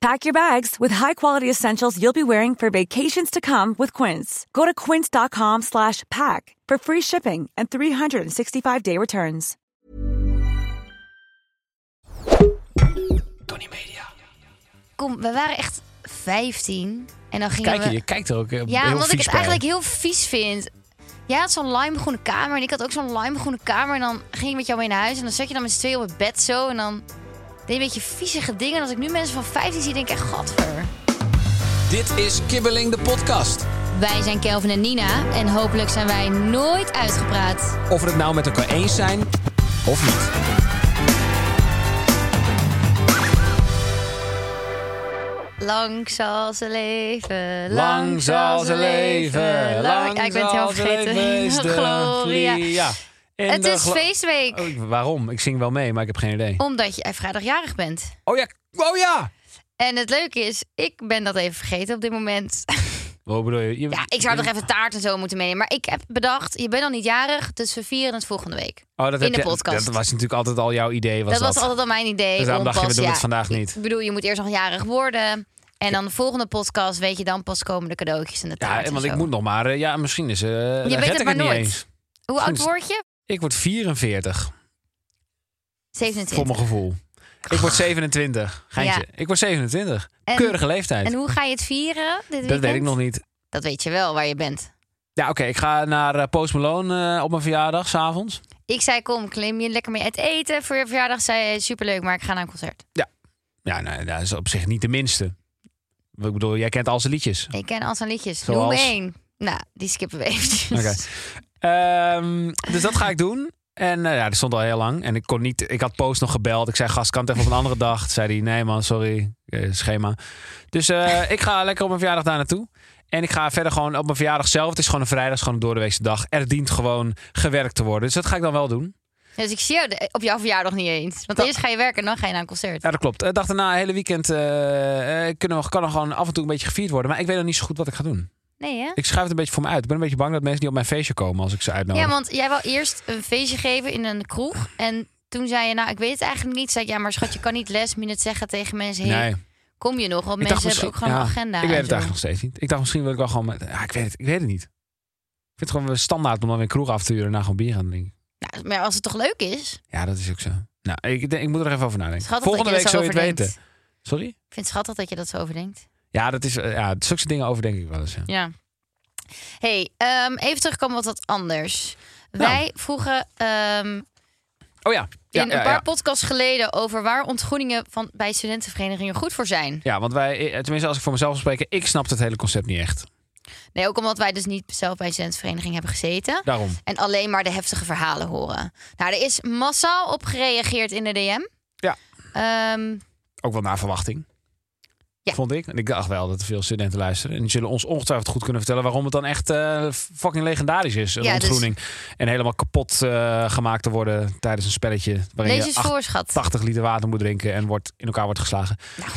Pack your bags with high-quality essentials you'll be wearing for vacations to come with Quince. Go to quince.com slash pack for free shipping and 365-day returns. Tony Media. Kom, we waren echt 15 en dan gingen Kijk, je, we... je kijkt er ook eh, Ja, heel omdat ik vies het bij. eigenlijk heel vies vind. Jij had zo'n limegroene kamer en ik had ook zo'n limegroene kamer. En dan ging ik met jou mee naar huis en dan zat je dan met z'n tweeën op het bed zo. En dan deed je een beetje viezige dingen. En als ik nu mensen van 15 zie, denk ik echt, gadver. Dit is Kibbeling, de podcast. Wij zijn Kelvin en Nina en hopelijk zijn wij nooit uitgepraat. Of we het nou met elkaar eens zijn of niet. Lang zal ze leven, Lang zal ze leven. Lang Ja, ik ben het zal heel ze vergeten. leven, is de Gloria. Gloria. En Het de is Oh. glo- feestweek, Oh, ik- waarom? Ik zing wel mee, maar ik heb geen idee. omdat jij vrijdagjarig bent. Oh ja, oh ja! En het leuke is, ik ben dat even vergeten op dit moment. Wat bedoel je? Je- Ja, ik zou je- toch even taart en zo moeten meenemen. Maar ik heb bedacht, je bent nog niet jarig, dus we vieren het volgende week. Oh, dat in heb de je- podcast. Dat was natuurlijk altijd al jouw idee. Was dat dat, was altijd al mijn idee. Dus daarom om dacht je, we pas- doen ja, het vandaag niet. Ik bedoel, je moet eerst nog jarig worden. En dan de volgende podcast weet je dan pas komen de cadeautjes en de taart. Ja, want en ik zo. moet nog maar... eh, Ja, misschien is... eh je weet het ik maar niet nooit. eens. Hoe oud Misschien word je? Ik word 44, 27. voor mijn gevoel. Ik word 27. Geintje. Ja. Ik word 27. En- Keurige leeftijd. En hoe ga je het vieren dit dat weet ik nog niet. Dat weet je wel, waar je bent. Ja, oké. ik ga naar eh, Post Malone eh, op mijn verjaardag, s'avonds. Ik zei, kom, claim je lekker mee uit eten voor je verjaardag. Zei, je, superleuk, maar ik ga naar een concert. Ja, nou, dat is op zich niet de minste. Ik bedoel, jij kent al zijn liedjes. Ik ken al zijn liedjes. Noem Zoals? één. Nou, die skippen we eventjes. Oké. Ehm, dus dat ga ik doen. En eh, ja, dat stond al heel lang. En ik kon niet... Ik had Post nog gebeld. Ik zei, gast, kan het even op een andere dag? Toen zei hij, nee man, sorry. eh, schema. Dus eh, ik ga lekker op mijn verjaardag daar naartoe. En ik ga verder gewoon op mijn verjaardag zelf. Het is gewoon een vrijdag, het is gewoon een doordeweekse dag. Er dient gewoon gewerkt te worden. Dus dat ga ik dan wel doen. Dus ik zie jou de- op jouw verjaardag niet eens. Want Dat- eerst ga je werken en dan ga je naar een concert. Ja, dat klopt. De dag daarna, het hele weekend, eh, eh, kunnen we, kan er gewoon af en toe een beetje gevierd worden. Maar ik weet nog niet zo goed wat ik ga doen. Nee, hè? Ik schuif het een beetje voor me uit. Ik ben een beetje bang dat mensen niet op mijn feestje komen als ik ze uitnodig. Ja, want jij wou eerst een feestje geven in een kroeg. En toen zei je, nou, ik weet het eigenlijk niet. Zei ik, ja, maar schat, je kan niet last minute zeggen tegen mensen... Hey, nee, kom je nog? Want ik mensen hebben ook gewoon ja, een agenda. Ik weet en het zo. eigenlijk nog steeds niet. Ik dacht misschien wil ik wel gewoon. Met, ja, ik, weet het, ik weet het niet. Ik vind het gewoon wel standaard om dan weer kroeg af te huren en na gewoon bier aan te drinken. Nou, maar als het toch leuk is? Ja, dat is ook zo. Nou, ik, denk- ik moet er even over nadenken. Schattig Volgende dat je week er zo zul je over het denkt. weten. Sorry? Ik vind het schattig dat je dat zo overdenkt. Ja, dat is, eh, ja, zulke dingen overdenk ik wel eens. ja. Ja. hey, ehm, even terugkomen op wat anders. Nou. Wij vroegen ehm, Oh ja. Ja, in ja, een paar ja. podcasts geleden... over waar ontgroeningen van, bij studentenverenigingen goed voor zijn. ja, want wij, eh, tenminste als ik voor mezelf spreek, ik snap het hele concept niet echt. Nee, ook omdat wij dus niet zelf bij een studentenvereniging hebben gezeten. Daarom. En alleen maar de heftige verhalen horen. Nou, er is massaal op gereageerd in de DM. Ja. Ehm, ook wel naar verwachting. Ja. Vond ik. En ik dacht wel dat er veel studenten luisteren. En die zullen ons ongetwijfeld goed kunnen vertellen waarom het dan echt eh, fucking legendarisch is. Een Ja, dus- ontgroening. En helemaal kapot eh, gemaakt te worden tijdens een spelletje. Waarin lees je eens acht- voor, schat. 80 liter water moet drinken en wordt, in elkaar wordt geslagen. Nou.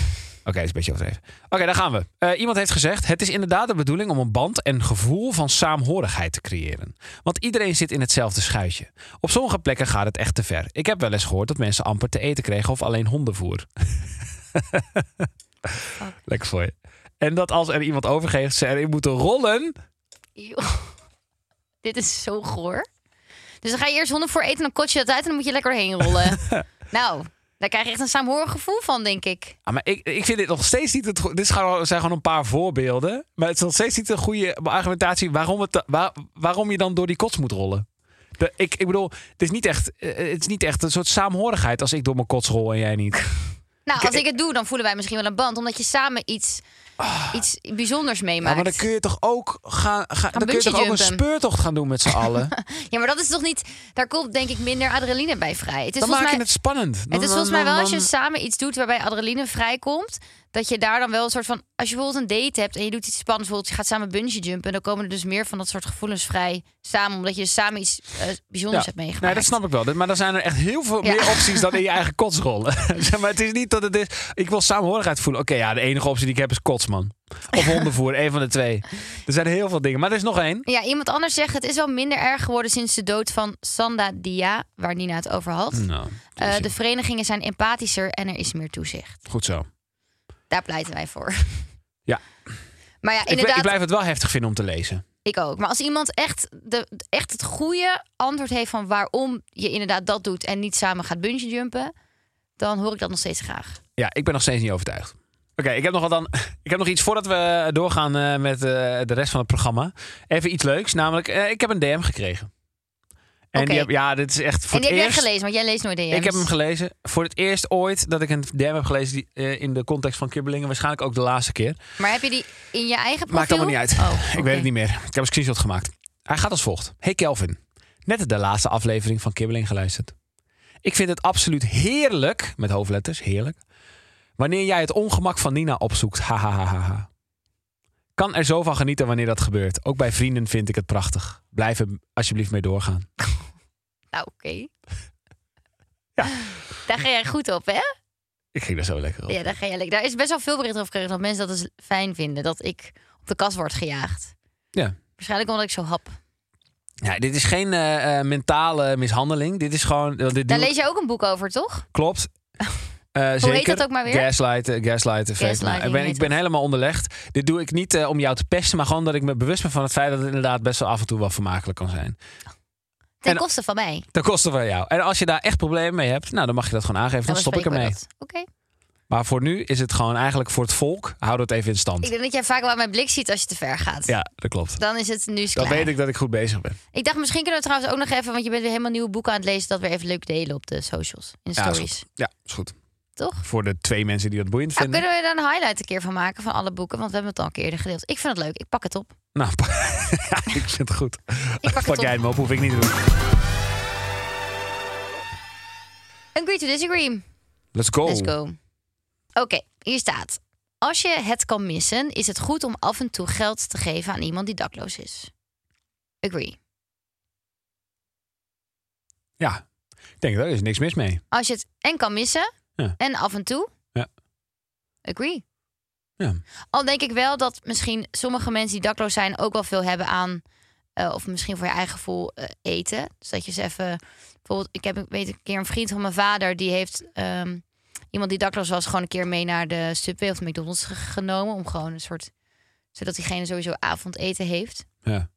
Oké, dat is een beetje overdreven. Oké, daar gaan we. Eh, iemand heeft gezegd: Het is inderdaad de bedoeling om een band en gevoel van saamhorigheid te creëren. Want iedereen zit in hetzelfde schuitje. Op sommige plekken gaat het echt te ver. Ik heb wel eens gehoord dat mensen amper te eten kregen of alleen hondenvoer. Lekker voor je. En dat als er iemand overgeeft, ze erin moeten rollen. Eeuw. Dit is zo goor. Dus dan ga je eerst honden voor eten, dan kot je dat uit en dan moet je lekker heen rollen. nou, daar krijg je echt een saamhorig gevoel van, denk ik. Ah, maar ik, ik vind dit nog steeds niet het. go- Dit is gewoon- zijn gewoon een paar voorbeelden. Maar het is nog steeds niet een goede argumentatie waarom, het, waar- waarom je dan door die kots moet rollen. De, ik, ik bedoel, het is, niet echt, eh, het is niet echt een soort saamhorigheid als ik door mijn kots rol en jij niet. Ah, Nou, als ik het doe, dan voelen wij misschien wel een band, omdat je samen iets iets bijzonders Ah. Ja, meemaakt. maar dan kun je toch ook, gaan, ga- dan kun je toch ook een bungeejumpen. speurtocht gaan doen met z'n allen? Ja, maar dat is toch niet. Daar komt denk ik minder adrenaline bij vrij. Het is dan volgens maak je mij. het spannend. Dan- Het is dan- volgens mij wel dan- als je samen iets doet waarbij adrenaline vrijkomt. Dat je daar dan wel een soort van. Als je bijvoorbeeld een date hebt en je doet iets spannends. Bijvoorbeeld je gaat samen bungee jumpen. Dan komen er dus meer van dat soort gevoelens vrij samen. Omdat je dus samen iets eh, Ja. bijzonders hebt meegemaakt. Nee, dat snap ik wel. Dit- Maar dan zijn er echt heel veel Ja. meer opties dan in je eigen kotsrol. Zeg maar het is niet dat het is... Ik wil saamhorigheid voelen. Oké, ja, de enige optie die ik heb is kotsman. Of hondenvoer, één van de twee. Er zijn heel veel dingen. Maar er is nog één. Ja, iemand anders zegt het is wel minder erg geworden sinds de dood van Sanda Dia, waar Nina het over had. Nou, Eh, de verenigingen zijn empathischer en er is meer toezicht. goed zo. Daar pleiten wij voor. Ja. Maar ja, Ik, bl- inderdaad, ik ik, blijf het wel heftig vinden om te lezen. ook. Maar als iemand echt, de, echt het goede antwoord heeft van waarom je inderdaad dat doet en niet samen gaat bungee jumpen, dan hoor ik dat nog steeds graag. Ja, ik ben nog steeds niet overtuigd. Oké, ik heb nog wat dan. Ik heb nog iets voordat we doorgaan eh, met eh, de rest van het programma. Even iets leuks, namelijk eh, ik heb een DM gekregen. En Oké. die heb, ja, dit is echt voor en die het heb eerst. jij gelezen, want jij leest nooit DM's. Ik heb hem gelezen. Voor het eerst ooit dat ik een DM heb gelezen die, eh, in de context van kibbelingen. Waarschijnlijk ook de laatste keer. maar heb je die in je eigen profiel? Maakt allemaal niet uit. Oh, Ik oké. weet het niet meer. Ik heb een screenshot gemaakt. Hij gaat als volgt. Hey Kelvin, net de laatste aflevering van Kibbeling geluisterd. Ik vind het absoluut heerlijk, met hoofdletters, heerlijk, wanneer jij het ongemak van Nina opzoekt. Ha, ha, ha, ha, ha. Kan er zo van genieten wanneer dat gebeurt. Ook bij vrienden vind ik het prachtig. Blijf er alsjeblieft mee doorgaan. Nou, oké. Daar ga jij goed op, hè? Ik ging daar zo lekker op. Ja, daar, ga je, lekker- daar is best wel veel berichten over gekregen dat mensen dat dus fijn vinden. Dat ik op de kast word gejaagd. Ja. Waarschijnlijk omdat ik zo hap. Ja, dit is geen eh, eh, mentale mishandeling. Dit is gewoon... want Dit Daar doe- lees je ook een boek over, toch? Klopt. Eh, zeker. dat ook maar weer? Gaslighten, gaslighten. effect. Nou, ik Gaslighting ben, heet ik ben dat. helemaal onderlegd. Dit doe ik niet eh, om jou te pesten, maar gewoon dat ik me bewust ben van het feit dat het inderdaad best wel af en toe wel vermakelijk kan zijn. Ten En- koste van mij. Ten koste van jou. En als je daar echt problemen mee hebt, nou dan mag je dat gewoon aangeven. Dan stop ik bespreken we ermee. dat. Oké. Maar voor nu is het gewoon eigenlijk voor het volk. Hou dat even in stand. Ik denk dat jij vaak wel mijn blik ziet als je te ver gaat. Ja, dat klopt. Dan is het nu is Dan klaar. weet ik dat ik goed bezig ben. Ik dacht, misschien kunnen we trouwens ook nog even... want je bent weer helemaal nieuwe boeken aan het lezen... dat we even leuk delen op de socials, in de Ja, is stories. goed. Ja, is goed. Toch? Voor de twee mensen die dat boeiend Nou, vinden. kunnen we daar een highlight een keer van maken van alle boeken? Want we hebben het al een keer eerder gedeeld. Ik vind het leuk. Ik pak het op. Nou, ik vind het goed. Ik pak het jij op. hem op, hoef ik niet te doen. Agree to disagree. Let's go. Let's go. Oké, hier staat. Als je het kan missen, is het goed om af en toe geld te geven aan iemand die dakloos is. Agree. Ja, ik denk daar is niks mis mee. Als je het en kan missen, Ja. en af en toe. Ja. Agree. Ja. Al denk ik wel dat misschien sommige mensen die dakloos zijn ook wel veel hebben aan, eh, of misschien voor je eigen gevoel, eh, eten. Dus dat je eens even, bijvoorbeeld, ik heb ik weet een keer een vriend van mijn vader, die heeft ehm, iemand die dakloos was, gewoon een keer mee naar de Subway of de McDonald's ge- genomen. Om gewoon een soort, zodat diegene sowieso avondeten heeft. Ja.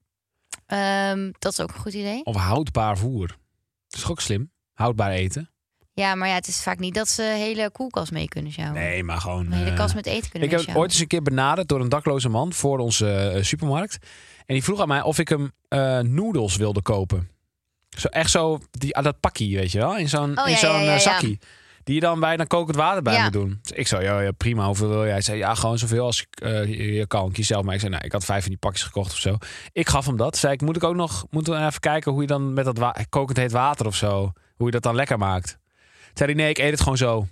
Ehm, dat is ook een goed idee. Of houdbaar voer. Dat is ook slim. Houdbaar eten. Ja, maar ja, het is vaak niet dat ze hele koelkast mee kunnen sjouwen. Nee, maar gewoon. Een hele eh, kast met eten kunnen ik heb meesjouwen. ooit eens een keer benaderd door een dakloze man voor onze eh, supermarkt. En die vroeg aan mij of ik hem eh noedels wilde kopen. Zo, echt zo, die, ah, dat pakkie, weet je wel? In zo'n Oh, in ja, zo'n ja, ja, eh, ja. zakkie. Die je dan bijna kokend water bij Ja. moet doen. Dus ik zei, ja, ja, prima, hoeveel wil jij? Hij zei, ja, gewoon zoveel als ik, eh, je- je kan. Kies zelf maar. Ik zei, nou, ik had vijf van die pakjes gekocht of zo. Ik gaf hem dat. Zei ik, moet ik ook nog moeten we even kijken hoe je dan met dat wa- kokend heet water of zo... hoe je dat dan lekker maakt. Zei hij, nee, ik eet het gewoon zo.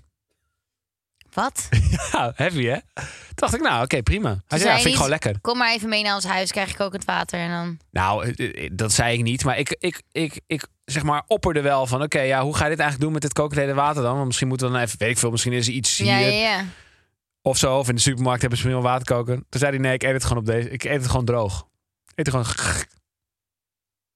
Wat? Ja, Nou, heavy hè? Toen dacht ik, nou oké, prima. Hij zei, ja, zei vind ik niet- gewoon lekker. Kom maar even mee naar ons huis, krijg ik ook het water en dan... Nou, eh, eh, dat zei ik niet. Maar ik, ik, ik, ik zeg maar opperde wel van, oké, ja, hoe ga je dit eigenlijk doen met dit kokend hete water dan? Want misschien moeten we dan even, weet ik veel, misschien is er iets hier Ja, ja, ja. of zo. Of in de supermarkt hebben ze misschien wel waterkoker. Toen zei hij, nee, ik eet het gewoon op deze. Ik eet het gewoon droog. Ik eet het gewoon...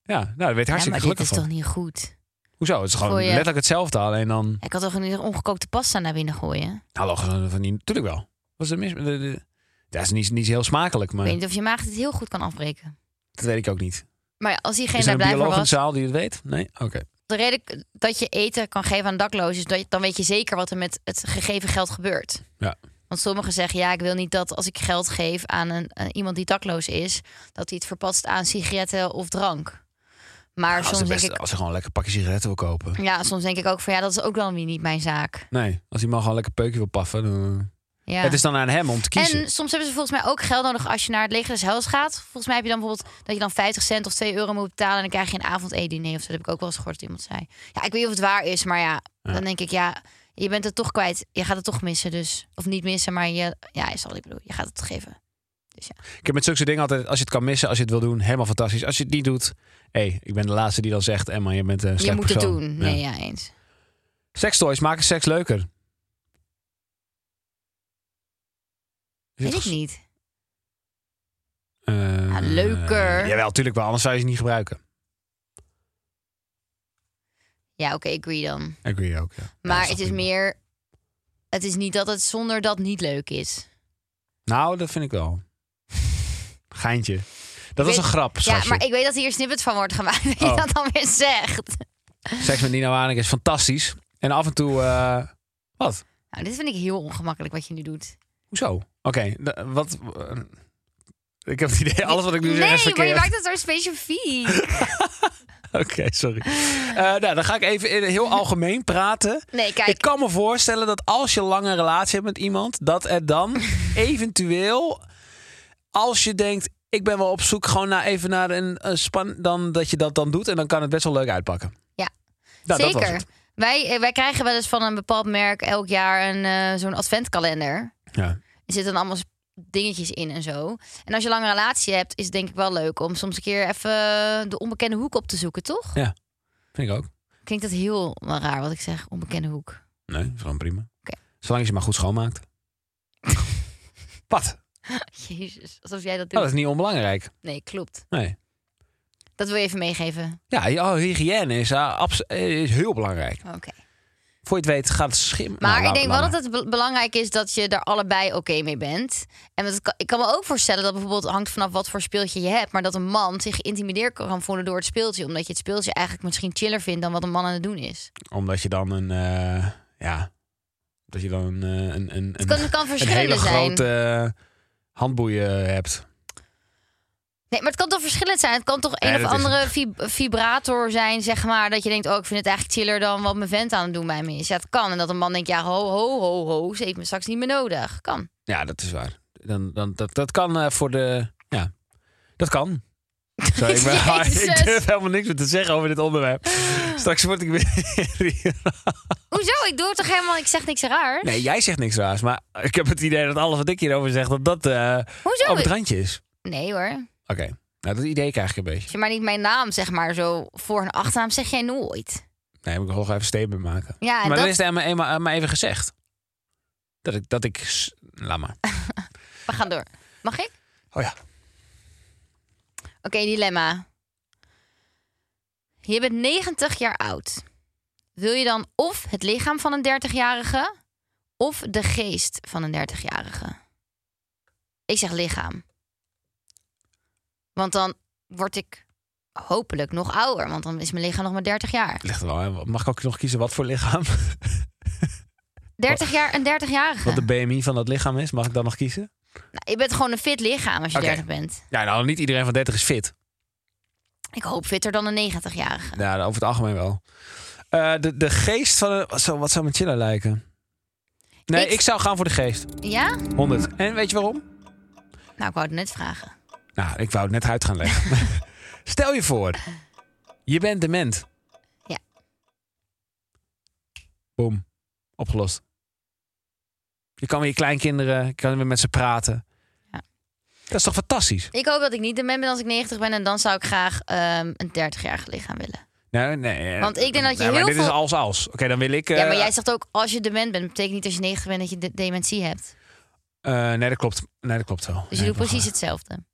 Ja, nou, daar werd ja, hartstikke maar dit gelukkig is van. toch niet goed? Hoezo? Het is gewoon Voor je- letterlijk hetzelfde, alleen dan... nou, Ik kan toch niet ongekookte pasta naar binnen gooien? Hallo, gewoon van die... Natuurlijk wel. Wat is er mis? met de- de- Dat is niet, niet heel smakelijk, Ik maar weet niet of je maag dit heel goed kan afbreken. dat weet ik ook niet. Maar ja, als diegene Is er daar een blij voor bioloog in de was... zaal die het weet? Nee? Oké. De reden k- dat je eten kan geven aan daklozen... is dat je- dan weet je zeker wat er met het gegeven geld gebeurt. Ja. Want sommigen zeggen, ja, ik wil niet dat als ik geld geef aan, een, aan iemand die dakloos is... dat hij het verpatst aan sigaretten of drank. Maar Als, soms Nou, de denk beste, ik... als ze gewoon lekker pakje sigaretten wil kopen. Ja, soms denk ik ook van, ja, dat is ook dan weer niet mijn zaak. Nee, als die man gewoon lekker peukje wil paffen, dan... eh, Ja. Het is dan aan hem om te kiezen. En soms hebben ze volgens mij ook geld nodig als je naar het leger des hels gaat. Volgens mij heb je dan bijvoorbeeld dat je dan 50 cent of 2 euro moet betalen... en dan krijg je een avondeten-diner of zo. Dat heb ik ook wel eens gehoord dat iemand zei. Ja, ik weet niet of het waar is, maar ja, dan denk ik... ja, je bent het toch kwijt. Je gaat het toch missen dus. Of niet missen, maar je, ja, is al ik bedoel. Je gaat het geven. Ik heb met zulke dingen altijd, als je het kan missen, als je het wil doen, helemaal fantastisch. Als je het niet doet, hé, ik ben de laatste die dan zegt, Emma, je bent een je slecht moet persoon. het doen. Nee, ja, eens. Sextoys maken seks leuker. Is het Weet ik ges- niet. Eh, Ja, leuker. Jawel, natuurlijk wel, anders zou je ze niet gebruiken. Ja, oké, ik agree dan. Agree ook, ja. Ja, Maar het dat toch is prima. meer... Het is niet dat het zonder dat niet leuk is. Nou, dat vind ik wel. Geintje. Weet- Dat was een grap, Ja, schatje. maar ik weet dat hier snippet van wordt gemaakt. Dat je Oh. dat dan weer zegt. Seks met Nina Waning is fantastisch. En af en toe... eh, Wat? Nou, dit vind ik heel ongemakkelijk wat je nu doet. Hoezo? Oké, d- wat... eh, ik heb het idee, alles wat ik nu zeg nee, is maar je verkeerd. maakt het zo Nou, specifiek. Oké, sorry. Eh, nou, dan ga ik even in- heel algemeen praten. Nee, kijk. Ik kan me voorstellen dat als je lang een relatie hebt met iemand, dat er dan eventueel, als je denkt, ik ben wel op zoek gewoon naar even naar een, eh, span, dan dat je dat dan doet en dan kan het best wel leuk uitpakken. Ja, Nou, dat was zeker. het. Wij, eh, wij krijgen wel eens van een bepaald merk elk jaar een, eh, zo'n adventkalender. Ja. Er zitten allemaal s- dingetjes in en zo. En als je een lange relatie hebt, is het denk ik wel leuk om soms een keer even de onbekende hoek op te zoeken, toch? ja, vind ik ook. Klinkt dat heel raar wat ik zeg, onbekende hoek. Nee, is gewoon prima. Oké. Zolang je ze maar goed schoonmaakt. Wat? Jezus, alsof jij dat doet. Nou, dat is niet onbelangrijk. Nee, klopt. Nee. Dat wil je even meegeven. Ja, oh, hygiëne is, eh, abs- eh, is heel belangrijk. Oké. Voor je het weet gaat het schim. Maar Nou, ik laat- denk laat wel maar. dat het be- belangrijk is dat je daar allebei oké mee bent. En dat kan- ik kan me ook voorstellen dat bijvoorbeeld het hangt vanaf wat voor speeltje je hebt, maar dat een man zich geïntimideerd kan voelen door het speeltje, omdat je het speeltje eigenlijk misschien chiller vindt dan wat een man aan het doen is. Omdat je dan een. eh, ja. Dat je dan een. eh, een, een, Het een, kan, het kan een verschillende hele zijn. grote eh, handboeien hebt. Nee, maar het kan toch verschillend zijn. Het kan toch een Ja, of dat is andere vib- vibrator zijn, zeg maar, dat je denkt, oh, ik vind het eigenlijk chiller dan wat mijn vent aan het doen bij me is. Ja, het kan. En dat een man denkt, ja, ho, ho, ho, ho, ze heeft me straks niet meer nodig. Kan. Ja, dat is waar. Dan, dan, dat, dat kan eh, voor de. Ja, dat kan. Zo, ik, ben, ik Jezus. durf helemaal niks meer te zeggen over dit onderwerp. Straks word ik weer. Hoezo? Ik doe het toch helemaal, ik zeg niks raars? Nee, jij zegt niks raars. Maar ik heb het idee dat alles wat ik hierover zeg, dat dat eh Hoezo? op het randje is. Nee hoor. Oké, nou dat idee krijg ik een beetje. Als je maar niet mijn naam, zeg maar, zo voor een achternaam zeg jij nooit. Nee, moet ik wel gewoon even een statement maken. Ja, en maar dat, dan is het eenmaal, eenmaal, eh, maar even gezegd. Dat ik, dat ik... s- Laat maar. we gaan door. Mag ik? Oh ja. Oké, dilemma. Je bent 90 jaar oud. Wil je dan of het lichaam van een 30-jarige of de geest van een 30-jarige? Ik zeg lichaam. Want dan word ik hopelijk nog ouder, want dan is mijn lichaam nog maar 30 jaar. Ligt er wel. hè? Mag ik ook nog kiezen wat voor lichaam? 30 jaar, een 30-jarige. Wat de BMI van dat lichaam is? Mag ik dan nog kiezen? Nou, je bent gewoon een fit lichaam als je Oké. 30 bent. Ja, nou, niet iedereen van 30 is fit. Ik hoop fitter dan een 90-jarige. Ja, over het algemeen wel. Eh, de, de geest van... een- Wat zou, wat zou mijn chiller lijken? Nee, Ik- ik... zou gaan voor de geest. Ja? 100. En weet je waarom? Nou, ik wou het net vragen. Nou, ik wou het net uit gaan leggen. Stel je voor, je bent dement. Ja. Boom. Opgelost. Je kan weer je kleinkinderen, je kan weer met ze praten. Ja. Dat is toch fantastisch? Ik hoop dat ik niet dement ben als ik 90 ben. En dan zou ik graag ehm, een 30-jarig lichaam willen. Nee, nee. eh, Want ik denk dat je nee, maar heel dit is veel- als als. Oké, dan wil ik... ja, eh, maar jij zegt ook als je dement bent. Dat betekent niet als je 90 bent dat je de- dementie hebt. eh, nee, dat klopt. Nee, dat klopt wel. Dus je Nee, doet dat precies klopt hetzelfde. wel.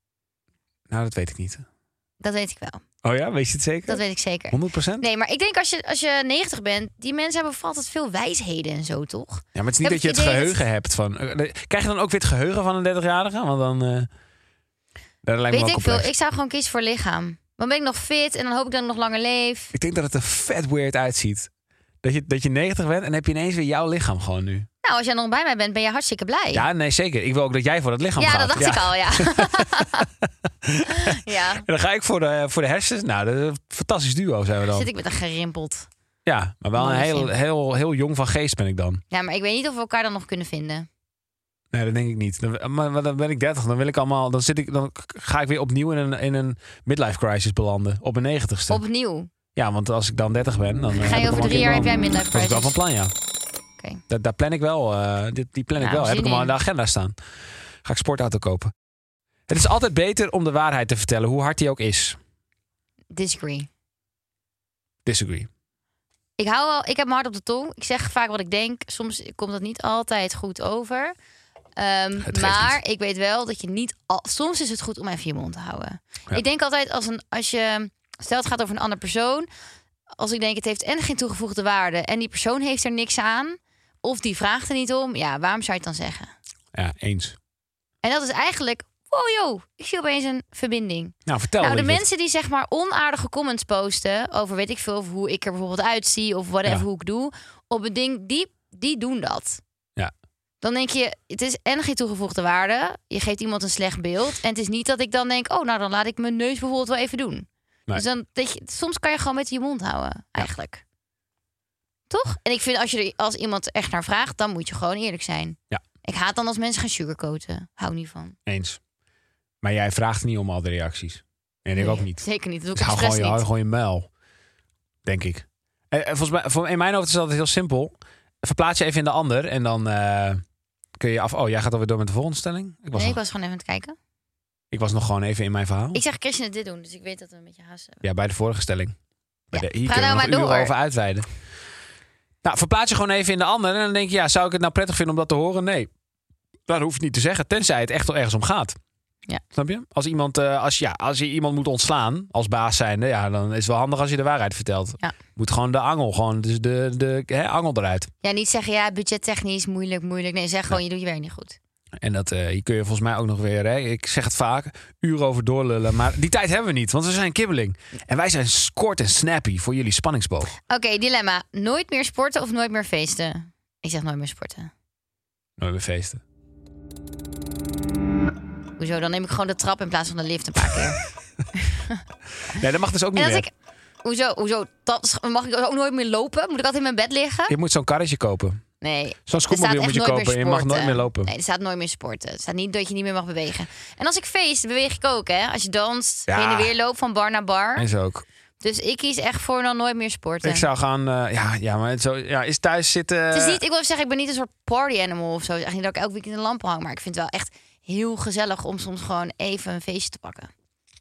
Nou, dat weet ik niet. Dat weet ik wel. Oh ja? Weet je het zeker? Dat weet ik zeker. 100 procent? Nee, maar ik denk als je, als je 90 bent, die mensen hebben vooral altijd veel wijsheden en zo, toch? Ja, maar het is Heb niet dat je het idee het dat- geheugen hebt van... eh, nee, Krijg je dan ook weer het geheugen van een 30-jarige? Want dan... eh, dat lijkt me weet ik wel veel. complex. Ik zou gewoon kiezen voor lichaam. Dan ben ik nog fit en dan hoop ik dat ik nog langer leef. Ik denk dat het er vet weird uitziet. Dat je, dat je 90 bent en heb je ineens weer jouw lichaam gewoon nu. Nou, als jij nog bij mij bent, ben je hartstikke blij. Ja, nee, zeker. Ik wil ook dat jij voor dat lichaam Ja, gaat. dat dacht ik al, ja. ja. En dan ga ik voor de, voor de hersens. Nou, dat is een fantastisch duo zijn we dan. Zit ik met een gerimpeld. Ja, maar wel een Mannetje. heel, heel, heel jong van geest ben ik dan. Ja, maar ik weet niet of we elkaar dan nog kunnen vinden. Nee, dat denk ik niet. Dan, eh, maar, maar dan ben ik 30. Dan wil ik allemaal. Dan, zit ik, dan ga ik weer opnieuw in een, in een midlife crisis belanden. Op mijn 90ste. Opnieuw. Ja, want als ik dan 30 ben. Dan, eh, Ga heb ik je over hem drie jaar, al- heb jij een midlife Dat is wel van crisis. plan, ja. Oké. Daar, daar plan ik wel. eh, dit, die plan ik Nou, wel. Heb zin ik hem al in. in de agenda staan. Ga ik sportauto kopen. Het is altijd beter om de waarheid te vertellen, hoe hard die ook is. Disagree. Disagree. Ik hou wel, ik heb mijn hart op de tong. Ik zeg vaak wat ik denk. Soms komt dat niet altijd goed over. Ehm, geeft maar ik weet wel dat je niet. Al, soms is het goed om even je mond te houden. Ja. Ik denk altijd als een als je stel het gaat over een andere persoon. Als ik denk het heeft en geen toegevoegde waarde en die persoon heeft er niks aan of die vraagt er niet om, ja, waarom zou je het dan zeggen? Ja, eens. En dat is eigenlijk, wow yo, ik zie opeens een verbinding. Nou, vertel. Nou, de Lidwin. mensen die zeg maar onaardige comments posten over weet ik veel of hoe ik er bijvoorbeeld uitzie of whatever Ja. hoe ik doe op een ding, die, die doen dat. Ja. Dan denk je, het is en geen toegevoegde waarde. Je geeft iemand een slecht beeld. En het is niet dat ik dan denk, oh, nou dan laat ik mijn neus bijvoorbeeld wel even doen. Dus dan, dat je, soms kan je gewoon met je mond houden, eigenlijk. Toch? En ik vind als, je er, als iemand er echt naar vraagt, dan moet je gewoon eerlijk zijn. Ja. Ik haat dan als mensen gaan sugarcoaten. Hou niet van. Eens. Maar jij vraagt niet om al de reacties. En ik ook niet. Zeker niet. Dat Dus doe ik hou gewoon, expres je, hou niet. gewoon je muil. Denk ik. En, en volgens mij, voor, in mijn hoofd is dat heel simpel. Verplaats je even in de ander en dan eh, kun je af... Oh, jij gaat alweer door met de volgende stelling? Ik was, Nee, ik nog, was gewoon even aan het kijken. ik was nog gewoon even in mijn verhaal. Ik zeg Christian het dit doen, dus ik weet dat we een beetje haast hebben. Ja, bij de vorige stelling. Bij Ja, de, hier ga kunnen we nou nog maar uren door. over uitweiden. Nou, verplaats je gewoon even in de ander. En dan denk je, ja, zou ik het nou prettig vinden om dat te horen? Nee. Nou, dat hoef je niet te zeggen. Tenzij het echt wel ergens om gaat. Ja. Snap je? Als, iemand, eh, als, ja, als je iemand moet ontslaan als baas zijnde... Ja, dan is het wel handig als je de waarheid vertelt. Ja. Moet gewoon de angel, gewoon dus de, de hè, angel eruit. Ja, niet zeggen, ja, budgettechnisch, moeilijk, moeilijk. Nee, zeg gewoon, je doet je werk niet goed. En dat, eh, hier kun je volgens mij ook nog weer... Hè, ik zeg het vaak, uren over doorlullen. Maar die tijd hebben we niet, want we zijn kibbeling. En wij zijn kort en snappy voor jullie spanningsboog. Oké, dilemma. Nooit meer sporten of nooit meer feesten? Ik zeg nooit meer sporten. Nooit meer feesten. Hoezo? Dan neem ik gewoon de trap in plaats van de lift een paar keer. Nee, dat mag dus ook en niet als meer. ik... Hoezo? Hoezo? Dat is- mag ik ook nooit meer lopen? Moet ik altijd in mijn bed liggen? Je moet zo'n karretje kopen. Nee. Zo'n Er staat scootmobiel echt moet je nooit kopen. meer Je mag nooit sporten. meer lopen. Nee, er staat nooit meer sporten. Er staat niet dat je niet meer mag bewegen. En als ik feest, beweeg ik ook, hè? Als je danst, Ja. heen en weer loopt van bar naar bar. En zo ook. Dus ik kies echt voor dan nooit meer sporten. Ik zou gaan... eh, ja, ja, maar het zo, ja, is thuis zitten... Het is niet, ik wil even zeggen, ik ben niet een soort party animal of zo. Het is echt niet dat ik elk weekend een lamp hang. Maar ik vind het wel echt heel gezellig om soms gewoon even een feestje te pakken.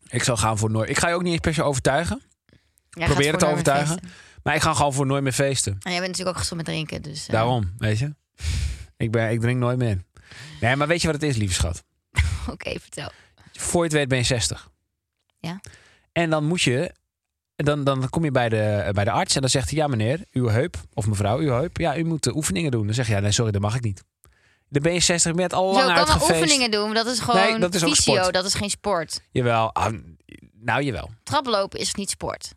Ik zou gaan voor nooit... Ik ga je ook niet eens per se overtuigen. Jij Probeer gaat het voor nooit te meer overtuigen. feesten. Maar ik ga gewoon voor nooit meer feesten. En jij bent natuurlijk ook gestopt met drinken, dus... eh, Daarom, weet je. Ik, ben, ik drink nooit meer. Nee, maar weet je wat het is, lieve schat? Oké, vertel. Voor je het weet ben je 60. Ja. En dan moet je... Dan, dan kom je bij de, bij de arts en dan zegt hij... Ja, meneer, uw heup, of mevrouw, uw heup... Ja, u moet eh, oefeningen doen. Dan zeg je... Ja, nee, sorry, dat mag ik niet. Dan ben je 60, je bent al lang Zo kan wel uitgefeest. oefeningen doen, maar dat is gewoon Nee, dat is ook fysio, sport. dat is geen sport. Jawel. ah, nou, jawel. Traplopen is niet sport.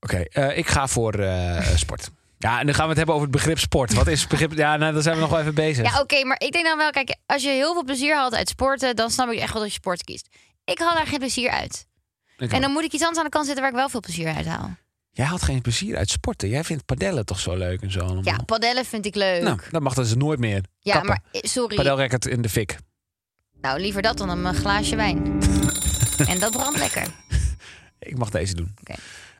Oké, eh, ik ga voor eh, sport. Ja, en dan gaan we het hebben over het begrip sport. Wat is het begrip? Ja, nou, daar zijn we nog wel even bezig. Ja, oké, maar ik denk dan wel, kijk, als je heel veel plezier haalt uit sporten, dan snap ik echt wel dat je sport kiest. Ik haal daar geen plezier uit. Ik En ook. dan moet ik iets anders aan de kant zetten waar ik wel veel plezier uit haal. Jij haalt geen plezier uit sporten. Jij vindt padellen toch zo leuk en zo allemaal. Ja, padellen vind ik leuk. Oh. Nou, dat mag dus nooit meer. ja, Kappen. maar eh, sorry. Padelracket in de fik. Nou, liever dat dan een eh, glaasje wijn. en dat brandt lekker. Ik mag deze doen. Oké.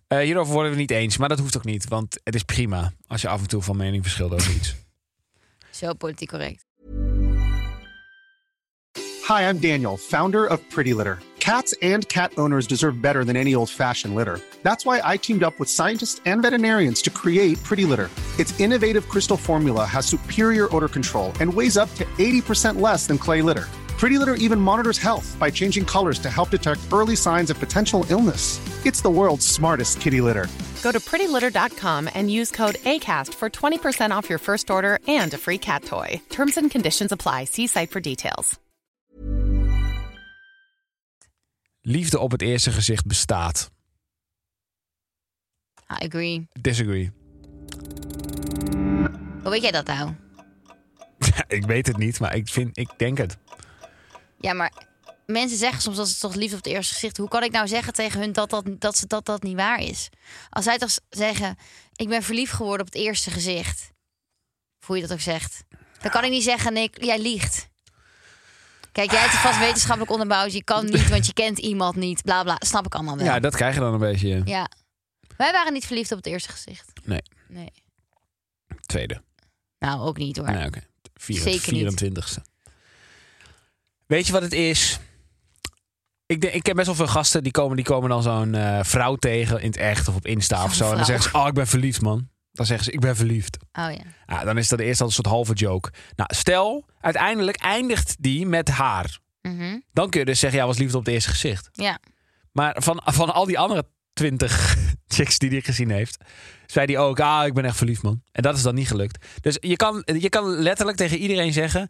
Eh, hierover worden we niet eens, maar dat hoeft ook niet. Want het is prima als je af en toe van mening verschilt over iets. Zo politiek correct. Hi, I'm Daniel, founder of Pretty Litter. Cats and cat owners deserve better than any old fashioned litter. That's why I teamed up with scientists and veterinarians to create Pretty Litter. Its innovative crystal formula has superior odor control and weighs up to 80% less than clay litter. Pretty Litter even monitors health by changing colors to help detect early signs of potential illness. It's the world's smartest kitty litter. Go to prettylitter.com and use code ACAST for 20% off your first order and a free cat toy. Terms and conditions apply. See site for details. Liefde op het eerste gezicht bestaat. I Ah, agree. Disagree. Hoe weet jij dat nou? ik weet het niet, maar ik, vind, ik denk het. Ja, maar mensen zeggen soms dat ze toch liefde op het eerste gezicht. Hoe kan ik nou zeggen tegen hun dat dat, dat, ze, dat, dat niet waar is? Als zij toch s- zeggen, ik ben verliefd geworden op het eerste gezicht. Of hoe je dat ook zegt. Dan kan ik niet zeggen, Nick, jij liegt. Kijk, jij hebt het vast wetenschappelijk onderbouwd. Je kan niet, want je kent iemand niet. Bla bla. Snap ik allemaal wel. Ja, dat krijg je dan een beetje. eh, Ja. Wij waren niet verliefd op het eerste gezicht. Nee. Nee. Tweede. Nou, ook niet hoor. Nee, oké. Vier- Zeker niet. 24ste. Weet je wat het is? Ik, denk, ik ken best wel veel gasten die komen, die komen dan zo'n eh, vrouw tegen in het echt of op Insta Zo'n of zo. En dan vrouw. zeggen ze: Oh, ik ben verliefd, man. Dan zeggen ze: Ik ben verliefd. Oh ja. Ja, dan is dat eerst al een soort halve joke. Nou, stel, uiteindelijk eindigt die met haar. Mhm. Dan kun je dus zeggen: Ja, was liefde op het eerste gezicht. Ja. Maar van, van al die andere 20 chicks die hij gezien heeft, zei hij ook: Ah, ik ben echt verliefd, man. En dat is dan niet gelukt. Dus je kan, je kan letterlijk tegen iedereen zeggen: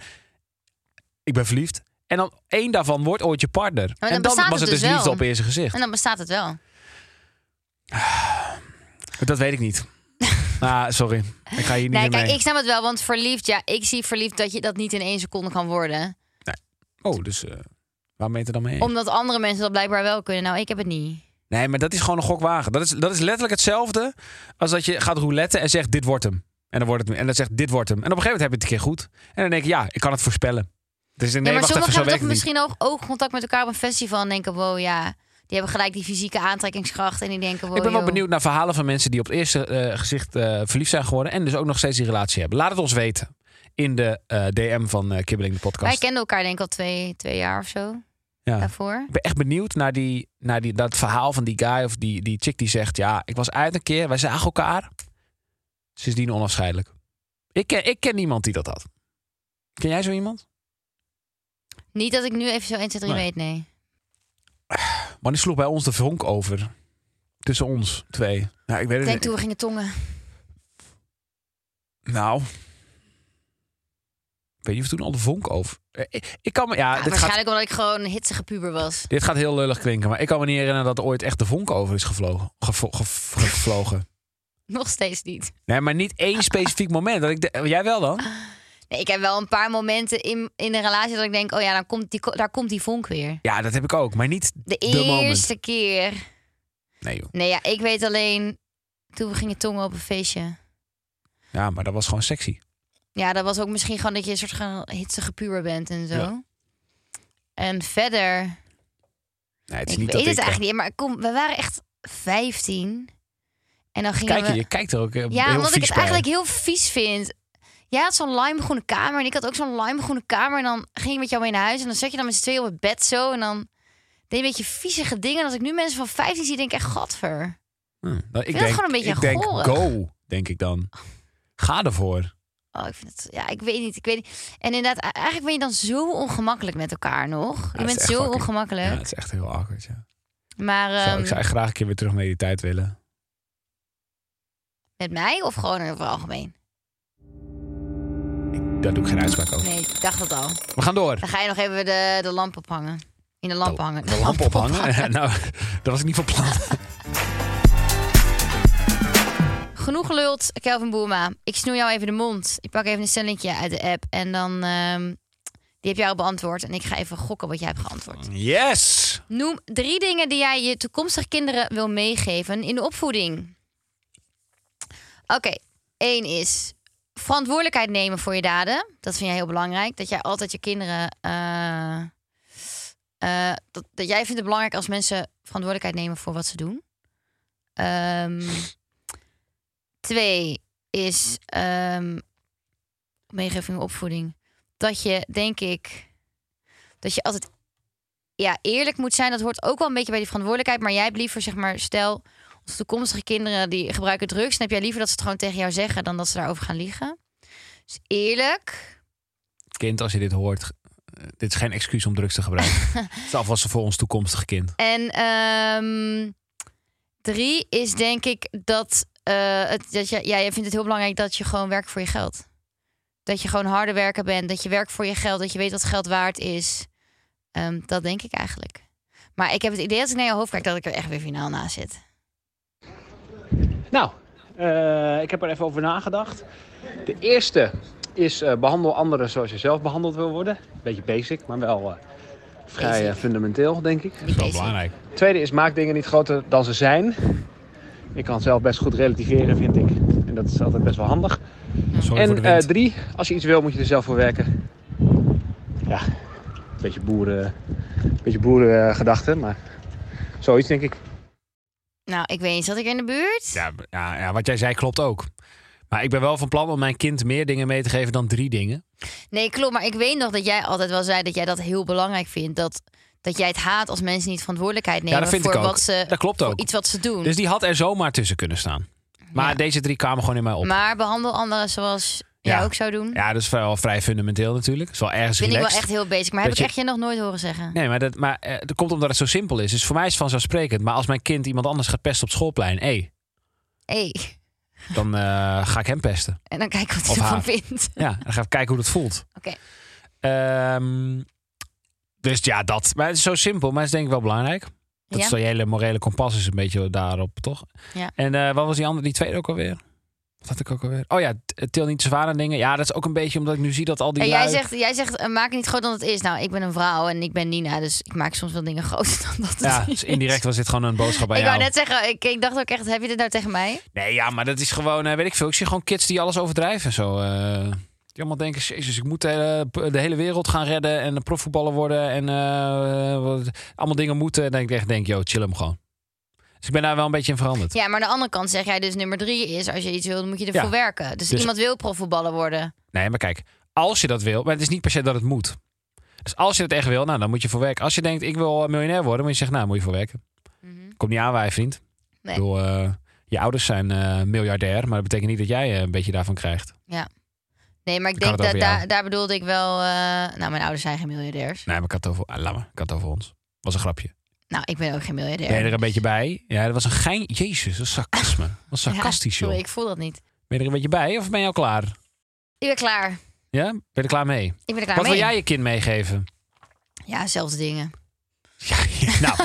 Ik ben verliefd. En dan één daarvan wordt ooit je partner. dan en dan bestaat was het het dus dus wel. liefde op eerste gezicht. En dan bestaat het wel. Dat weet ik niet. Ah, sorry. Ik ga hier niet Nee, meer kijk, mee. ik snap het wel, want verliefd, ja, ik zie verliefd dat je dat niet in één seconde kan worden. Oh, dus eh, waarom meet er dan mee? Omdat andere mensen dat blijkbaar wel kunnen. Nou, ik heb het niet. Nee, maar dat is gewoon een gokwagen. Dat is, dat is letterlijk hetzelfde als dat je gaat rouletten en zegt: Dit wordt hem. En dan, wordt het, en dan zegt: Dit wordt hem. En op een gegeven moment heb je het een keer goed. En dan denk je: Ja, ik kan het voorspellen. Dus nee, ja, maar wacht even, sommigen zo hebben toch werkt het niet. misschien ook oogcontact met elkaar op een festival en denken, wow, ja, die hebben gelijk die fysieke aantrekkingskracht en die denken, wow, Ik ben wel joh. benieuwd naar verhalen van mensen die op het eerste eh, gezicht eh, verliefd zijn geworden. En dus ook nog steeds die relatie hebben. Laat het ons weten in de eh, DM van eh, Kibbeling de Wij podcast. kenden elkaar denk ik al twee, twee jaar of zo Ja. daarvoor. Ik ben echt benieuwd naar, die, naar die, dat verhaal van die guy of die, die chick die zegt... ja, ik was uit een keer, wij zagen elkaar. Sindsdien onafscheidelijk. Ik ken, ik ken niemand die dat had. Ken jij zo iemand? Niet dat ik nu even zo 1, 2, 3 Nee. weet, nee. Maar die sloeg bij ons de vonk over. Tussen ons twee. Nou, Ik ik weet het denk niet. toen we gingen Ah, tongen. Ah, Nou... Ik weet niet of toen al de vonk over... Eh, Ik, ik kan me... Ja, Ja, dit, gaat, waarschijnlijk omdat ik gewoon een hitsige puber was. dit gaat heel lullig klinken. Maar ik kan me niet herinneren dat er ooit echt de vonk over is gevlogen. Gevo- gev- gevlogen. Nog steeds niet. Nee, maar niet één specifiek moment. Dat ik de, jij wel dan? Nee, ik heb wel een paar momenten in, in een relatie dat ik denk, oh ja, dan komt die, ko- daar komt die vonk weer. Ja, dat heb ik ook. Maar niet De de, moment. eerste keer. Nee, joh. Nee, ja, ik weet alleen toen we gingen tongen op een feestje. Ja, maar dat was gewoon sexy. Ja, dat was ook misschien gewoon dat je een soort van hitsige puber bent en zo. Ja. En verder, Nee, het is ik niet weet het dat ik... eh, eigenlijk niet, maar kom, we waren echt 15. En dan gingen Kijk, je, we... je kijkt er ook eh, Ja, heel omdat ik vies het bij. eigenlijk heel vies vind. Jij had zo'n limegroene kamer en ik had ook zo'n limegroene kamer. En dan ging ik met jou mee naar huis en dan zat je dan met z'n tweeën op het bed zo. En dan deed je een beetje viezige dingen. En als ik nu mensen van 15 zie, denk ik echt, gadver. Hm, nou, ik vind dat denk, gewoon een beetje Ik denk, goor. go, denk ik dan. Ga ervoor. Oh, ik vind het, ja, ik weet niet, ik weet niet. En inderdaad, e- eigenlijk ben je dan zo ongemakkelijk met elkaar nog. Ja, je het is bent echt zo fucking- ongemakkelijk. Ja, het is echt heel awkward, ja. Maar Zo, ehm, ik zou echt graag een keer weer terug naar die tijd willen. met mij of gewoon over het algemeen? Daar doe ik geen uitspraak over. Nee, ik dacht het al. We gaan door. Dan ga je nog even de, de lamp ophangen. In de lamp hangen. Oh, De lamp ophangen? nou, dat was ik niet van plan. Genoeg geluld, Kelvin Boerma. Ik snoei jou even de mond. Ik pak even een stellingje uit de app. En dan, ehm, die heb jij al beantwoord. En ik ga even gokken wat jij hebt geantwoord. Yes! Noem drie dingen die jij je toekomstige kinderen wil meegeven in de opvoeding. Oké, één is verantwoordelijkheid nemen voor je daden. Dat vind jij heel belangrijk. Dat jij altijd je kinderen... eh, eh, dat, dat jij vindt het belangrijk als mensen verantwoordelijkheid nemen voor wat ze doen. Ehm, twee is ehm meegeving opvoeding. Dat je, denk ik, dat je altijd ja, eerlijk moet zijn. Dat hoort ook wel een beetje bij die verantwoordelijkheid. Maar jij hebt liever, zeg maar, stel, onze toekomstige kinderen die gebruiken drugs. Dan heb jij liever dat ze het gewoon tegen jou zeggen dan dat ze daarover gaan liegen. Dus eerlijk. Kind, als je dit hoort, eh, dit is geen excuus om drugs te gebruiken. het is alvast voor ons toekomstig kind. En ehm, drie is denk ik dat, eh, het, dat je, ja, jij vindt het heel belangrijk dat je gewoon werkt voor je geld. Dat je gewoon harde werker bent, dat je werkt voor je geld, dat je weet wat geld waard is. Ehm, dat denk ik eigenlijk. Maar ik heb het idee als ik naar je hoofd kijk dat ik er echt weer finaal na zit. Nou, eh, ik heb er even over nagedacht. De eerste is eh, behandel anderen zoals je zelf behandeld wil worden. Beetje basic, maar wel eh, vrij eh, fundamenteel, denk ik. Die basic. Tweede is maak dingen niet groter dan ze zijn. Ik kan zelf best goed relativeren, vind ik. En dat is altijd best wel handig. Sorry voor de en eh, wind. drie, als je iets wil, moet je er zelf voor werken. Ja, een beetje boeren, een beetje boerengedachten, maar zoiets denk ik. Nou, ik weet niet, zat ik in de buurt? Ja, b- ja, ja, wat jij zei klopt ook. Maar ik ben wel van plan om mijn kind meer dingen mee te geven dan drie dingen. Nee, klopt. Maar ik weet nog dat jij altijd wel zei dat jij dat heel belangrijk vindt. Dat, dat jij het haat als mensen niet verantwoordelijkheid nemen dat vind ik voor ook. wat ze Dat klopt voor ook. iets wat ze doen. Dus die had er zomaar tussen kunnen staan. Maar Ja. deze drie kwamen gewoon in mij op. Maar behandel anderen zoals jij Ja. ook zou doen. Ja, dat is wel vrij fundamenteel natuurlijk. Dat is wel ergens vind ik wel relaxed. echt heel basic. Maar Dat heb je- ik echt je nog nooit horen zeggen. Nee, maar, dat, maar eh, dat komt omdat het zo simpel is. Dus voor mij is het vanzelfsprekend. Maar als mijn kind iemand anders gaat pesten op het schoolplein... hé, hey. dan eh, ga ik hem pesten. en dan kijk wat Of hij ervan haar. vindt. Ja, dan ga ik kijken hoe dat voelt. Oké. Ehm, dus ja, dat. Maar het is zo simpel, maar het is denk ik wel belangrijk. Dat Ja? is wel je hele morele kompas is een beetje daarop, toch? Ja. En eh, wat was die andere, die tweede ook alweer? Wat had ik ook alweer? Oh ja, t- til niet te zwaar aan dingen. Ja, dat is ook een beetje omdat ik nu zie dat al die En jij lui- zegt, jij zegt eh, maak het niet groter dan het is. Nou, ik ben een vrouw en ik ben Nina, dus ik maak soms wel dingen groter dan dat het Ja, is. dus indirect was dit gewoon een boodschap bij Ik jou. wou net zeggen, ik, ik dacht ook echt, heb je dit nou tegen mij? Nee, ja, maar dat is gewoon, eh, weet ik veel. Ik zie gewoon kids die alles overdrijven. Zo, eh, die allemaal denken, jezus, ik moet de hele, de hele wereld gaan redden... en een profvoetballer worden en eh, wat- allemaal dingen moeten. En dan denk ik echt, denk, yo, chill hem gewoon. Dus ik ben daar wel een beetje in veranderd. Ja, maar aan de andere kant zeg jij dus nummer drie is... als je iets wil, dan moet je ervoor Ja. werken. Dus, Dus- iemand wil profvoetballer worden. Nee, maar kijk, als je dat wil, maar het is niet per se dat het moet. Dus als je het echt wil, nou, dan moet je voor werken. Als je denkt, ik wil miljonair worden, moet je zeggen, nou, moet je voor werken. Kom niet aan, wij vriend. Nee. Ik bedoel, eh, je ouders zijn eh, miljardair, maar dat betekent niet dat jij eh, een beetje daarvan krijgt. Nee, maar ik Dan denk gaat dat het over jou. daar, daar bedoelde ik wel... eh, nou, mijn ouders zijn geen miljardairs. Nee, maar ik had het over, ah, laat maar, ik had het over ons. Was een grapje. Nou, ik ben ook geen miljardair. Ben je er een beetje bij? Ja, dat was een gein. Jezus, dat is sarcasme. Wat Ja, sarcastisch, joh. sorry, ik voel dat niet. Ben je er een beetje bij of ben je al klaar? Ik ben klaar. Ja? Ben je er klaar mee? Ik ben er klaar Wat mee. wil jij je kind meegeven? Ja, zelfs dingen. Ja, nou,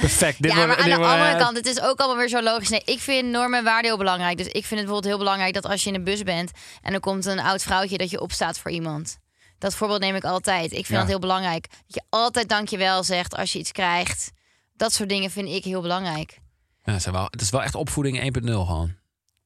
perfect. Dit ja, wordt- maar aan dit de wordt, andere eh, kant, het is ook allemaal weer zo logisch. Nee, ik vind normen en waarden heel belangrijk. Dus ik vind het bijvoorbeeld heel belangrijk dat als je in de bus bent en er komt een oud vrouwtje, dat je opstaat voor iemand. Dat voorbeeld neem ik altijd. Ik vind Ja. dat heel belangrijk. Dat je altijd dankjewel zegt als je iets krijgt. Dat soort dingen vind ik heel belangrijk. Ja, het, zijn wel, het is wel echt opvoeding 1.0 gewoon.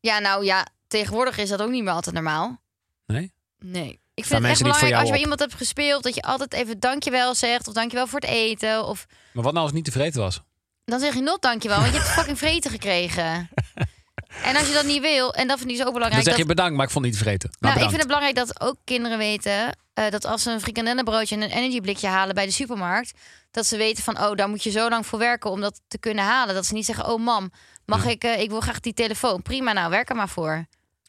Ja, nou ja, tegenwoordig is dat ook niet meer altijd normaal. Nee? Nee. Ik Staan vind het echt mensen niet voor belangrijk als je bij jou iemand hebt gespeeld, dat je altijd even dankjewel zegt. Of dankjewel voor het eten. Of Maar wat nou als het niet tevreden was? Dan zeg je not dankjewel, want je hebt fucking vreten gekregen. En als je dat niet wil, en dat vind ik zo ook dan belangrijk. zeg je dat, bedankt, maar ik vond het niet tevreden. Nou, nou, ik bedankt. vind het belangrijk dat ook kinderen weten eh, dat als ze een frikandellenbroodje en een energyblikje halen bij de supermarkt, dat ze weten van oh, daar moet je zo lang voor werken om dat te kunnen halen. Dat ze niet zeggen oh mam, mag ik, eh, ik wil graag die telefoon. Prima, nou werk er maar voor.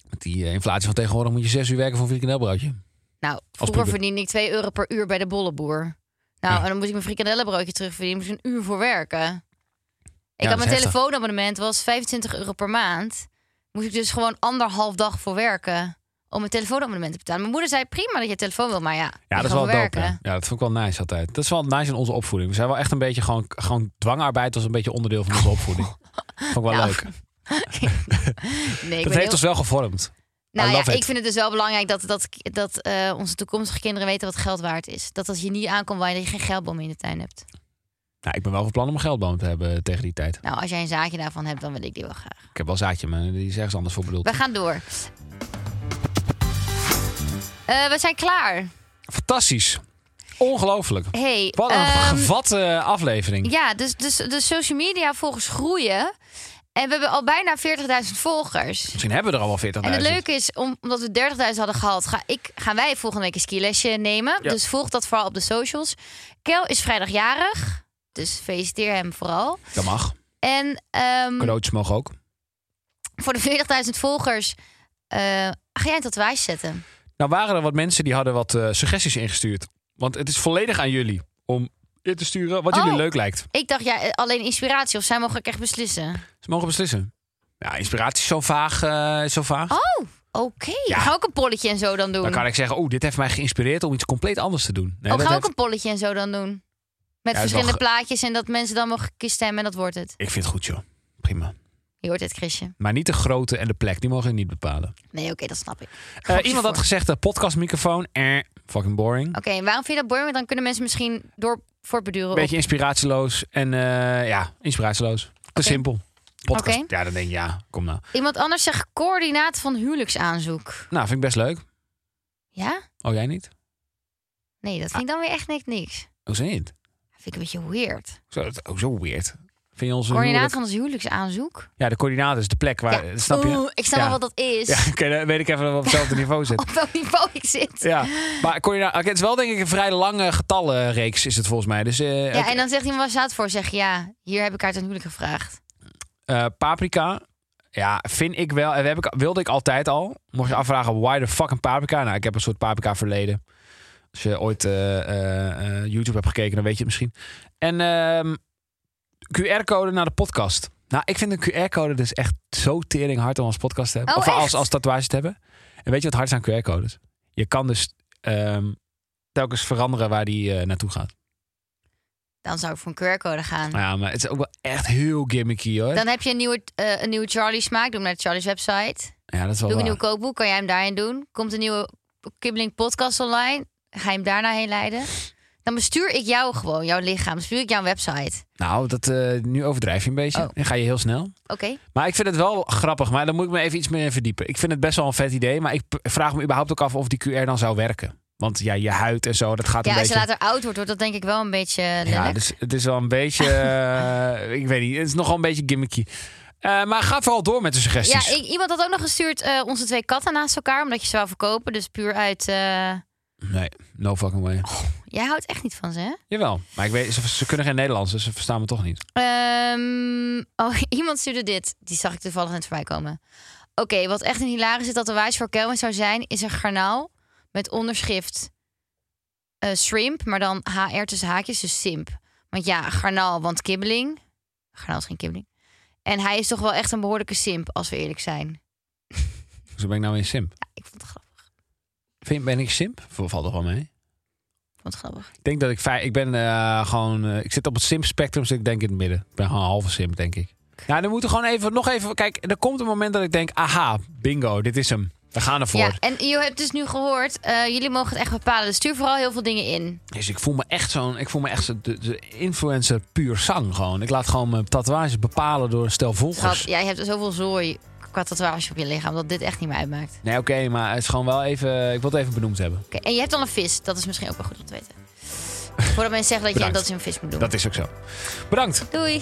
Met die eh, inflatie van tegenwoordig moet je zes uur werken voor een frikandelbroodje. Nou, vroeger puber. verdiende ik 2 euro per uur bij de bolleboer. Nou, en dan moest ik mijn frikandellenbroodje terugverdienen. Moest ik een uur voor werken. Ik dat had is mijn heftig. telefoonabonnement, was 25 euro per maand. Moest ik dus gewoon anderhalf dag voor werken. Om mijn telefoonabonnement te betalen. Mijn moeder zei, prima dat je telefoon wil, maar ja, Ja, dat is wel wel dope. werken. hè? Ja, dat vond ik wel nice altijd. Dat is wel nice in onze opvoeding. We zijn wel echt een beetje gewoon, gewoon dwangarbeid was een beetje onderdeel van onze opvoeding. Vond ik wel Nou, leuk. Nee, ik Dat ben heeft heel- ons wel gevormd. I Nou ja, love it. ik vind het dus wel belangrijk dat, dat, dat eh, onze toekomstige kinderen weten wat geld waard is. Dat als je niet aankomt waar je geen geldboom in de tuin hebt. Nou, ik ben wel van plan om een geldboom te hebben tegen die tijd. Nou, als jij een zaadje daarvan hebt, dan wil ik die wel graag. Ik heb wel zaadje, maar die is ergens anders voor bedoeld. We gaan door. Eh, we zijn klaar. Fantastisch. Ongelooflijk. Hey, Wat een ehm, gevatte aflevering. Ja, dus, dus de social media volgens groeien. En we hebben al bijna 40.000 volgers. Misschien hebben we er al wel 40.000. En het leuke is, om, omdat we 30.000 hadden gehad, ga ik, gaan wij volgende week een skilesje nemen. Dus volg dat vooral op de socials. Kel is vrijdagjarig, dus feliciteer hem vooral. Dat mag. En ehm, Cadeautjes mogen ook. voor de 40.000 volgers eh, ga jij een tatoeage zetten. Nou waren er wat mensen die hadden wat eh, suggesties ingestuurd. Want het is volledig aan jullie om in te sturen wat jullie Oh. leuk lijkt. Ik dacht, ja, eh, alleen inspiratie of zij mogen ook echt beslissen. Ze mogen beslissen. Ja, inspiratie is zo vaag. eh, is zo vaag. Oh, oké. Ja. Ga ook een polletje en zo dan doen. Dan kan ik zeggen, oh, dit heeft mij geïnspireerd om iets compleet anders te doen. Nee, ook, dat ga ook heeft- een polletje en zo dan doen. Met Ja, is wel verschillende plaatjes en dat mensen dan mogen kiezen stemmen en dat wordt het. Ik vind het goed, joh. Prima. Je hoort het, Chrisje. Maar niet de grootte en de plek, die mogen jullie niet bepalen. Nee, oké, dat snap ik. Eh, Grapje iemand had voor. gezegd, eh, podcastmicrofoon, eh, fucking boring. Oké, en waarom vind je dat boring? Want dan kunnen mensen misschien door voortbeduren. op- Beetje inspiratieloos en eh, ja, inspiratieloos. Te simpel. Podcast. Oké. Ja, dan denk je, ja, kom nou. Iemand anders zegt coördinaat van huwelijksaanzoek. Nou, vind ik best leuk. Ja? Oh, jij niet? Nee, dat vind ik dan weer echt niks. niks. Hoezo niet? Dat vind ik een beetje weird. Zo, dat- oh, zo weird. Vind je onze Coördinaat huwelijk- van ons huwelijksaanzoek. Ja, de coördinaat is de plek waar... Ja. Oh. Snap je? Oeh, ik snap Ja. wel wat dat is. Ja, oké, dan weet ik even dat we op hetzelfde niveau zitten. Op welk niveau ik zit. Ja, maar kon je nou, oké, het is wel denk ik een vrij lange getallenreeks is het volgens mij. Dus eh, Ja, en dan zegt iemand waar staat het voor. Zeg ja, hier heb ik haar ten huwelijk gevraagd. eh, paprika, ja, vind ik wel. En heb ik, wilde ik altijd al. Mocht je afvragen, why the fucking paprika? Nou, ik heb een soort paprika verleden. Als je ooit eh, eh, eh, YouTube hebt gekeken, dan weet je het misschien. En ehm, QR-code naar de podcast. Nou, ik vind een QR-code dus echt zo tering hard om als podcast te hebben. Oh, of als, echt? als tatoeage te hebben. En weet je wat hard is aan QR-codes? Je kan dus ehm, telkens veranderen waar die eh, naartoe gaat. Dan zou ik voor een QR-code gaan. Ja, maar het is ook wel echt heel gimmicky hoor. Mm. Dan heb je een nieuwe, eh, een nieuwe Charlie smaak. Doe hem naar de Charlie's website. ja, dat is Doe wel een waar. nieuw kookboek. Kan jij hem daarin doen? Komt een nieuwe Kibbeling podcast online. Ga je hem daarna heen leiden? Dan bestuur ik jou gewoon, jouw lichaam. Bestuur ik jouw website. Nou, dat, eh, nu overdrijf je een beetje. Oh. Dan ga je heel snel. Oké. Maar ik vind het wel grappig, maar dan moet ik me even iets meer in verdiepen. Ik vind het best wel een vet idee, maar ik p- vraag me überhaupt ook af of die QR dan zou werken. Want ja, je huid en zo, dat gaat Ja, een als beetje... je later oud wordt, wordt dat denk ik wel een beetje lelijk. Ja, dus het is wel een beetje... eh, ik weet niet, het is nogal een beetje gimmicky. Eh, maar ga vooral door met de Ja, suggesties. ik, iemand had ook nog gestuurd eh, onze twee katten naast elkaar, omdat je ze wou verkopen. Dus puur uit... eh, Nee, no fucking way. Jij houdt echt niet van ze, hè? Jawel, maar ik weet, ze, ze kunnen geen Nederlands, dus ze verstaan me toch niet. Ehm, oh, iemand stuurde dit. Die zag ik toevallig net voorbij komen. Oké, wat echt een hilarische tatoeage voor Kelvin zou zijn... is een garnaal met onderschrift eh, shrimp... maar dan HR tussen haakjes, dus simp. Want ja, garnaal, want kibbeling. Garnaal is geen kibbeling. En hij is toch wel echt een behoorlijke simp, als we eerlijk zijn. Zo ben ik nou weer simp. Ja, ik vond het grappig. Vind, ben ik simp? Valt toch wel mee? Ik vond het grappig. Ik denk dat ik vijf. Ik ben eh, gewoon. eh, ik zit op het simp-spectrum, dus ik denk in het midden. Ik ben gewoon een halve simp, denk ik. Nou, dan moeten we gewoon even. Nog even. Kijk, er komt een moment dat ik denk: aha, bingo, dit is hem. We gaan ervoor. Ja, en je hebt dus nu gehoord... eh, jullie mogen het echt bepalen. Dus stuur vooral heel veel dingen in. Dus ik voel me echt zo'n. Ik voel me echt zo de, de influencer puur zang gewoon. Ik laat gewoon mijn tatoeages bepalen door een stel Schat, volgers. jij hebt zoveel zooi qua tatoeage op je lichaam dat dit echt niet meer uitmaakt. Nee, oké, maar het is gewoon wel even. Ik wil het even benoemd hebben. Oké, En je hebt dan een vis, dat is misschien ook wel goed om te weten. Voordat mensen zeggen dat je Bedankt. denkt dat ze een vis moet doen. Dat is ook zo. Bedankt. Doei!